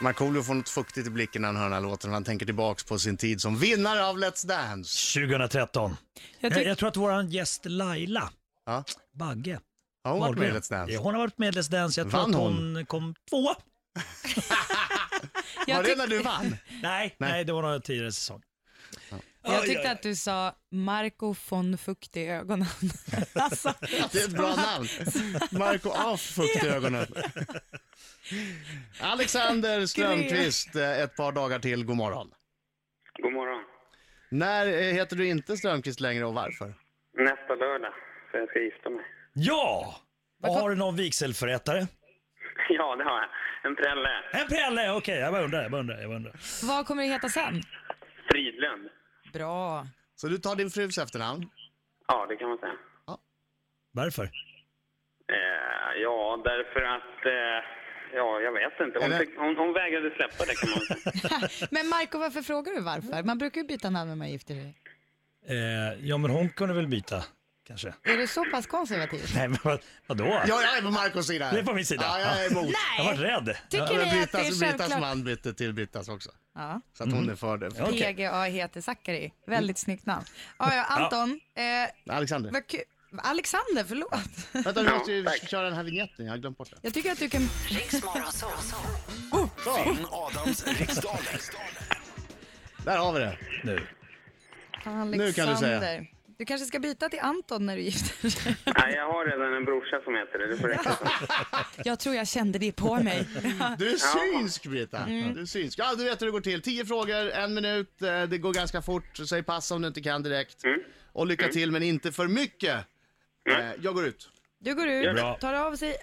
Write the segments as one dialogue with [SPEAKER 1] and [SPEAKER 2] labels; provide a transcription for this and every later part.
[SPEAKER 1] Markoolio får något fuktigt i blicken när han hör den här låten. Han tänker tillbaks på sin tid som vinnare av Let's Dance.
[SPEAKER 2] 2013.
[SPEAKER 3] Jag
[SPEAKER 2] Jag,
[SPEAKER 3] tyck-
[SPEAKER 2] jag, tror att våran gäst Laila
[SPEAKER 1] Ja.
[SPEAKER 2] Bagge
[SPEAKER 1] Har hon varit med i
[SPEAKER 2] Wahlgren.
[SPEAKER 1] Let's Dance?
[SPEAKER 2] Ja, Hon har varit med i Let's Dance. Jag tror
[SPEAKER 1] Vann
[SPEAKER 2] att hon, kom tvåa.
[SPEAKER 1] Var
[SPEAKER 3] Jag,
[SPEAKER 1] det
[SPEAKER 3] tyck-
[SPEAKER 1] när du vann?
[SPEAKER 2] Nej, nej. det var någon tidigare säsong.
[SPEAKER 3] jag
[SPEAKER 2] Aj,
[SPEAKER 3] tyckte
[SPEAKER 2] aj,
[SPEAKER 3] att du sa Marco von Fukt i ögonen. alltså,
[SPEAKER 1] Det är ett bra namn. Marco Af, fukt i ögonen. Alexander Strömqvist, eh, ett par dagar till. God morgon.
[SPEAKER 4] God morgon.
[SPEAKER 1] När eh, heter du inte Strömqvist längre och varför?
[SPEAKER 4] Nästa lördag, för jag ska gifta mig.
[SPEAKER 2] Ja! Och
[SPEAKER 3] Varför-
[SPEAKER 2] har du någon vigselförrättare?
[SPEAKER 4] Ja, det har jag. En prälle.
[SPEAKER 2] En prälle, okej. jag bara undrar, jag bara undrar, jag bara undrar.
[SPEAKER 3] vad kommer det heta sen?
[SPEAKER 4] Fridlund.
[SPEAKER 3] Bra.
[SPEAKER 1] Så du tar din frus efternamn?
[SPEAKER 4] Ja, det kan man säga.
[SPEAKER 2] Varför?
[SPEAKER 4] Eh, ja, därför att... Eh, ja, jag vet inte. Hon,
[SPEAKER 1] Eller-
[SPEAKER 4] tyck- hon, hon vägrade släppa det, kan man säga.
[SPEAKER 3] Men Marco, varför frågar du varför? Man brukar ju byta namn när man gifter sig.
[SPEAKER 2] Eh, ja, men hon kunde väl byta, kanske.
[SPEAKER 3] Är det så pass konservativt?
[SPEAKER 2] Nej, men vad, vadå?
[SPEAKER 1] Ja, jag är på Marcos sida.
[SPEAKER 2] Du är på min sida.
[SPEAKER 1] Ja, jag är emot.
[SPEAKER 2] Jag var rädd.
[SPEAKER 3] Tycker
[SPEAKER 1] Men
[SPEAKER 3] ni att det är
[SPEAKER 1] Brittas, Brittas
[SPEAKER 3] självklart?
[SPEAKER 1] man bytte till Brittas också.
[SPEAKER 3] Ja.
[SPEAKER 1] Så att
[SPEAKER 2] Mm.
[SPEAKER 1] hon är för det.
[SPEAKER 2] Okej.
[SPEAKER 3] PGA heter Zackari. Väldigt snyggt namn. Ja, ja, Anton, eh,
[SPEAKER 1] Alexander,
[SPEAKER 3] vad kul. Alexander, förlåt.
[SPEAKER 1] vänta du måste ju
[SPEAKER 4] Ja, tack.
[SPEAKER 1] köra den här vignetten, jag har glömt bort det.
[SPEAKER 3] Jag tycker att du kan...
[SPEAKER 5] Riksmorgon så, så. Finn Adams riksdaler.
[SPEAKER 1] Där har vi det.
[SPEAKER 2] Nu.
[SPEAKER 3] Alexander.
[SPEAKER 1] Nu kan du säga.
[SPEAKER 3] Du kanske ska byta till Anton när du gifter dig.
[SPEAKER 4] Nej, jag har redan en brorsa som heter det. Det får räcka.
[SPEAKER 3] Jag tror jag kände det på mig.
[SPEAKER 1] Du är synsk Britta. Du är synsk. Ja, du vet hur det går till. Tio frågor, en minut. eh, Det går ganska fort. Säg pass om du inte kan direkt. Och lycka till, men inte för mycket. Eh, Jag går ut.
[SPEAKER 3] Du går
[SPEAKER 2] Bra.
[SPEAKER 3] ut, tar av sig...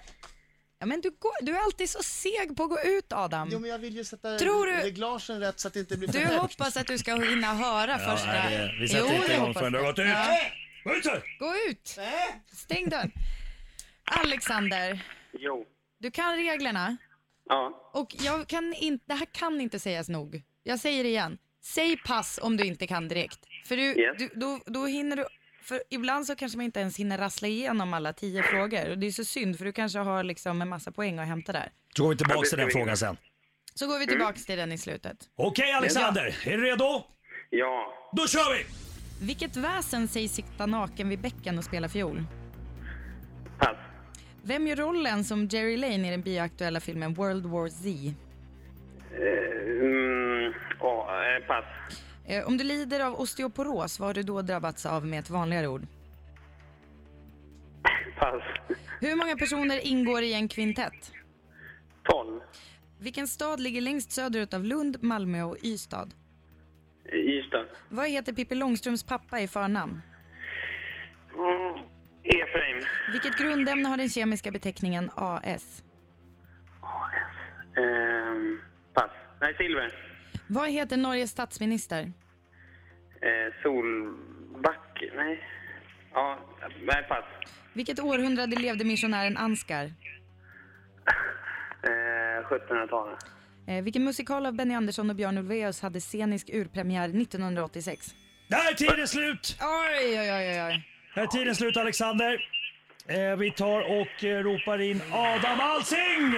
[SPEAKER 3] Ja, men du, går, du är alltid så seg på att gå ut, Adam.
[SPEAKER 1] Jo, men jag vill ju sätta
[SPEAKER 3] Tror du-
[SPEAKER 1] reglagen rätt så att det inte blir för
[SPEAKER 3] Du hoppas att du ska hinna höra
[SPEAKER 2] Ja,
[SPEAKER 3] första...
[SPEAKER 2] nej, det, vi sätter inte
[SPEAKER 3] det
[SPEAKER 2] igång
[SPEAKER 3] hoppas
[SPEAKER 2] förrän du har
[SPEAKER 3] jag.
[SPEAKER 2] gått ut.
[SPEAKER 3] Ja.
[SPEAKER 2] Gå ut här!
[SPEAKER 3] Gå ut! Stäng dörren. Alexander,
[SPEAKER 4] Jo.
[SPEAKER 3] du kan reglerna.
[SPEAKER 4] Ja.
[SPEAKER 3] Och jag kan inte, det här kan inte sägas nog. Jag säger det igen. Säg pass om du inte kan direkt. För du,
[SPEAKER 4] Yes.
[SPEAKER 3] du, då, då hinner du, för ibland så kanske man inte ens hinner rassla igenom alla tio frågor. Och det är så synd för du kanske har liksom en massa poäng att hämta där.
[SPEAKER 2] Så går vi tillbaka till
[SPEAKER 4] Ja,
[SPEAKER 2] den
[SPEAKER 4] det-
[SPEAKER 2] frågan sen.
[SPEAKER 3] Så går vi tillbaks till den i slutet.
[SPEAKER 2] Okej Alexander, är du redo?
[SPEAKER 4] Ja.
[SPEAKER 2] Då kör vi!
[SPEAKER 3] Vilket väsen sägs sitta naken vid bäcken och spela fiol?
[SPEAKER 4] Pass.
[SPEAKER 3] Vem gör rollen som Jerry Lane i den bioaktuella filmen World War Z?
[SPEAKER 4] Eh, mm, ja, eh, pass.
[SPEAKER 3] Eh, Om du lider av osteoporos, vad har du då drabbats av med ett vanligare ord?
[SPEAKER 4] Pass.
[SPEAKER 3] Hur många personer ingår i en kvintett?
[SPEAKER 4] 12.
[SPEAKER 3] Vilken stad ligger längst söderut av Lund, Malmö och Ystad?
[SPEAKER 4] Ystad.
[SPEAKER 3] Vad heter Pippi Långstrumps pappa i förnamn?
[SPEAKER 4] Mm, Efraim.
[SPEAKER 3] Vilket grundämne har den kemiska beteckningen AS?
[SPEAKER 4] Ehm, pass. Nej, silver.
[SPEAKER 3] Vad heter Norges statsminister?
[SPEAKER 4] Eh, Solback. Nej. Ja, nej, pass.
[SPEAKER 3] Vilket århundrade levde missionären Anskar?
[SPEAKER 4] Eh, 1700-talet.
[SPEAKER 3] Eh, vilken musikal av Benny Andersson och Björn Ulvaeus hade scenisk urpremiär 1986?
[SPEAKER 2] Där är tiden slut!
[SPEAKER 3] Oj, oj, oj, oj.
[SPEAKER 2] Där är tiden slut Alexander. Eh, vi tar och eh, ropar in Adam Alsing!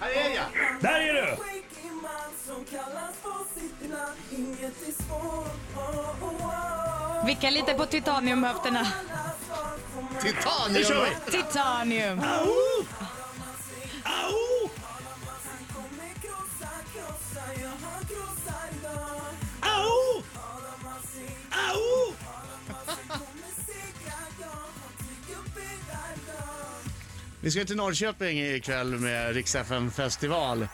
[SPEAKER 1] Här är jag!
[SPEAKER 2] Där är du!
[SPEAKER 3] Vicka lite på titaniumhöfterna.
[SPEAKER 1] Titan!
[SPEAKER 2] Nu kör vi!
[SPEAKER 3] Titanium!
[SPEAKER 2] Au! Au! Au! Au!
[SPEAKER 1] Vi ska till Norrköping ikväll med Rix FM festival.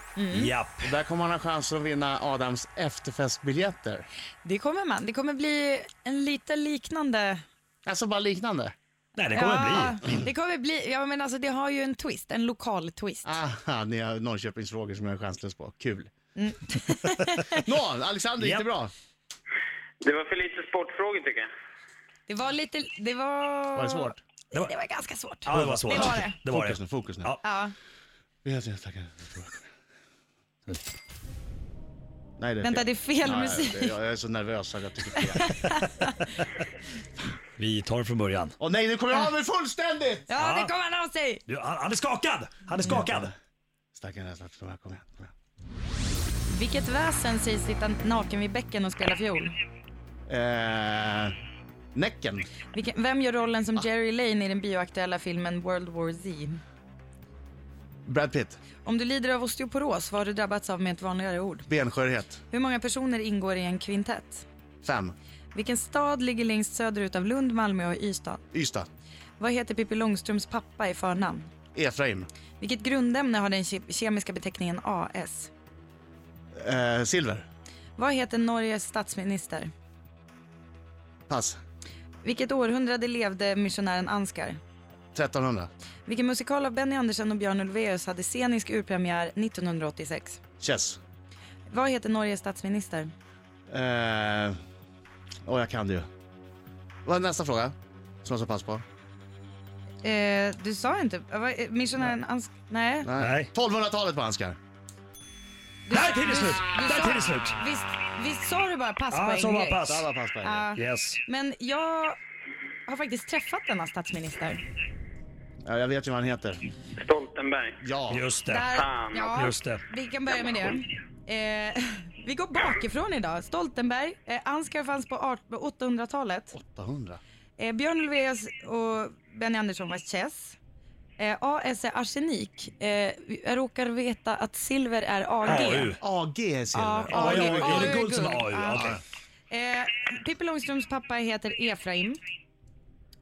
[SPEAKER 2] Japp.
[SPEAKER 1] Där kommer man ha chans att vinna Adams efterfestbiljetter.
[SPEAKER 3] Det kommer man. Det kommer bli en lite liknande
[SPEAKER 1] Alltså bara liknande.
[SPEAKER 2] Nej, det kommer bli.
[SPEAKER 3] Det kommer bli, ja men alltså det har ju en twist, en lokal twist.
[SPEAKER 1] Aha, ni har Norrköpingsfrågor som jag är chanslös på. Kul. Nå, Alexander gick det
[SPEAKER 2] Japp.
[SPEAKER 1] bra?
[SPEAKER 4] Det var för lite sportfrågor, tycker jag.
[SPEAKER 3] Det var lite, det var...
[SPEAKER 1] Var det svårt?
[SPEAKER 2] Det var,
[SPEAKER 3] Det var ganska svårt.
[SPEAKER 2] ja, det var svårt.
[SPEAKER 3] Det var det.
[SPEAKER 2] Det var
[SPEAKER 1] Fokus nu,
[SPEAKER 2] det.
[SPEAKER 1] fokus nu.
[SPEAKER 2] Ja.
[SPEAKER 3] Ja.
[SPEAKER 1] Vi har tre tackar. Nej, det är
[SPEAKER 3] Vänta,
[SPEAKER 1] fel.
[SPEAKER 3] det är fel
[SPEAKER 1] Nej,
[SPEAKER 3] musik.
[SPEAKER 1] det- Jag är så nervös att jag tycker fel.
[SPEAKER 2] Vi tar det från början.
[SPEAKER 1] Åh nej, nu kommer jag av mig fullständigt!
[SPEAKER 3] Ja,
[SPEAKER 2] Ja.
[SPEAKER 3] det kommer han av sig!
[SPEAKER 2] Du, han, han är skakad! Han är skakad!
[SPEAKER 1] Stackarn rädsla för kom igen, kom igen.
[SPEAKER 3] Vilket väsen sägs sitta naken vid bäcken och spela fiol?
[SPEAKER 1] Eh, näcken.
[SPEAKER 3] Vilken, vem gör rollen som Jerry Lane i den bioaktuella filmen World War Z?
[SPEAKER 1] Brad Pitt.
[SPEAKER 3] Om du lider av osteoporos, vad har du drabbats av med ett vanligare ord?
[SPEAKER 1] Benskörhet.
[SPEAKER 3] Hur många personer ingår i en kvintett?
[SPEAKER 1] Fem.
[SPEAKER 3] Vilken stad ligger längst söderut av Lund, Malmö och Ystad?
[SPEAKER 1] Ystad.
[SPEAKER 3] Vad heter Pippi Långstrumps pappa i förnamn?
[SPEAKER 1] Efraim.
[SPEAKER 3] Vilket grundämne har den ke- kemiska beteckningen AS?
[SPEAKER 1] Eh, silver.
[SPEAKER 3] Vad heter Norges statsminister?
[SPEAKER 1] Pass.
[SPEAKER 3] Vilket århundrade levde missionären Ansgar?
[SPEAKER 1] 1300.
[SPEAKER 3] Vilken musikal av Benny Andersson och Björn Ulvaeus hade scenisk urpremiär 1986?
[SPEAKER 1] Chess.
[SPEAKER 3] Vad heter Norges statsminister?
[SPEAKER 1] Eh, åh, jag kan det ju. Vad är nästa fråga? Som jag ska pass på.
[SPEAKER 3] Eh, du sa inte... eh, vad- eh, Missionären Ansgar... Nej.
[SPEAKER 2] Nej.
[SPEAKER 1] 1200-talet på Ansgar.
[SPEAKER 2] Där till det slut! Där till det slut!
[SPEAKER 3] Visst, visst sa du bara pass på
[SPEAKER 2] Ja,
[SPEAKER 3] en
[SPEAKER 2] så var
[SPEAKER 3] grej?
[SPEAKER 2] pass.
[SPEAKER 1] Där var pass på en grej.
[SPEAKER 3] Ja.
[SPEAKER 2] Yes.
[SPEAKER 3] Men jag har faktiskt träffat denna statsminister.
[SPEAKER 1] Ja, jag vet ju vad han heter.
[SPEAKER 4] Stoltenberg.
[SPEAKER 1] Ja.
[SPEAKER 2] Just det.
[SPEAKER 3] Där,
[SPEAKER 4] Fan,
[SPEAKER 3] ja,
[SPEAKER 2] just det.
[SPEAKER 3] Vi kan börja med det. Eh, vi går bakifrån idag. Stoltenberg, eh, Ansgar fanns på art- på 800-talet.
[SPEAKER 1] 800.
[SPEAKER 3] Eh, Björn Ulvaeus och Benny Andersson var chess. Eh, AS är arsenik. Eh, jag råkar veta att silver är AG.
[SPEAKER 2] AU.
[SPEAKER 1] AG är
[SPEAKER 3] Ja,
[SPEAKER 1] silver.
[SPEAKER 2] Ja,
[SPEAKER 3] AU.
[SPEAKER 2] ja, ja, det är
[SPEAKER 3] AU,
[SPEAKER 2] guld som är AU.
[SPEAKER 3] Ja.
[SPEAKER 2] okej.
[SPEAKER 3] Eh, Pippi Långstrumps pappa heter Efraim.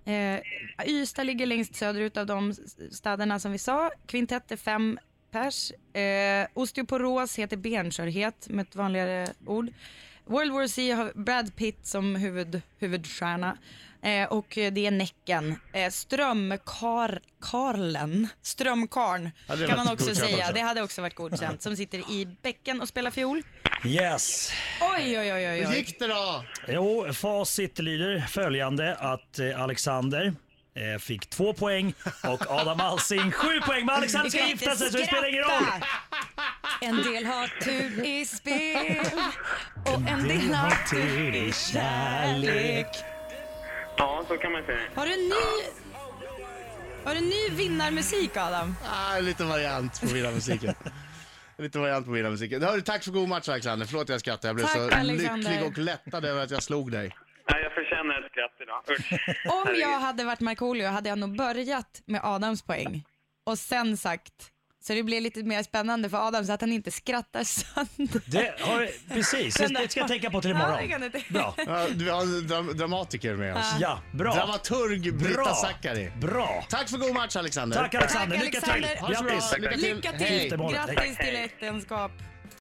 [SPEAKER 3] Eh, Ystad ligger längst söderut av de s- städerna som vi sa. Kvintett är fem pers. Eh, osteoporos heter benskörhet med ett vanligare ord. World War Z har Brad Pitt som huvud, huvudstjärna. Eh, och eh, det är Näcken. Eh, Strömkarlen. Strömkarn
[SPEAKER 1] Hade det
[SPEAKER 3] kan
[SPEAKER 1] varit
[SPEAKER 3] man också
[SPEAKER 1] godkänt
[SPEAKER 3] säga.
[SPEAKER 1] också?
[SPEAKER 3] Det hade också varit godkänt. Som sitter i bäcken och spelar fiol.
[SPEAKER 2] Yes.
[SPEAKER 3] Oj, oj, oj, oj.
[SPEAKER 1] Hur
[SPEAKER 3] oj.
[SPEAKER 1] gick det då?
[SPEAKER 2] Jo, facit lyder följande att eh, Alexander eh, fick två poäng och Adam Alsing sju poäng. Men Alexander ska gifta sig så det spelar ingen roll.
[SPEAKER 3] En del har tur i spel och en del har tur i kärlek.
[SPEAKER 4] Ja, så kan man säga.
[SPEAKER 3] Har du en ny... Har du en ny vinnarmusik, Adam?
[SPEAKER 1] Ah, en liten variant på vinnarmusiken. En liten variant på vinnarmusiken. Hörru, tack för god match Alexander. Förlåt att jag skrattade. Jag blev
[SPEAKER 3] Tack,
[SPEAKER 1] så
[SPEAKER 3] Alexander.
[SPEAKER 1] lycklig och lättad över att jag slog dig.
[SPEAKER 4] Nej, jag förtjänar ett skratt idag. Usch.
[SPEAKER 3] Om jag hade varit Markoolio hade jag nog börjat med Adams poäng och sen sagt så det blir lite mer spännande för Adam så att han inte skrattar sönder.
[SPEAKER 2] Det har, precis, det det ska jag tänka på till
[SPEAKER 3] Ja, det kan
[SPEAKER 2] imorgon.
[SPEAKER 3] du tänka.
[SPEAKER 2] Bra.
[SPEAKER 1] Ja, Vi har en dram- dramatiker med oss.
[SPEAKER 2] Ja, bra.
[SPEAKER 1] Dramaturg Britta
[SPEAKER 2] Bra.
[SPEAKER 1] Zackari.
[SPEAKER 2] Bra.
[SPEAKER 1] Tack för god match Alexander.
[SPEAKER 2] Tack Alexander,
[SPEAKER 3] Tack,
[SPEAKER 2] lycka till.
[SPEAKER 3] Alexander.
[SPEAKER 1] Ha det så bra.
[SPEAKER 2] Grattis.
[SPEAKER 1] Lycka till.
[SPEAKER 3] Lycka
[SPEAKER 1] Hej.
[SPEAKER 3] till! Grattis till äktenskap!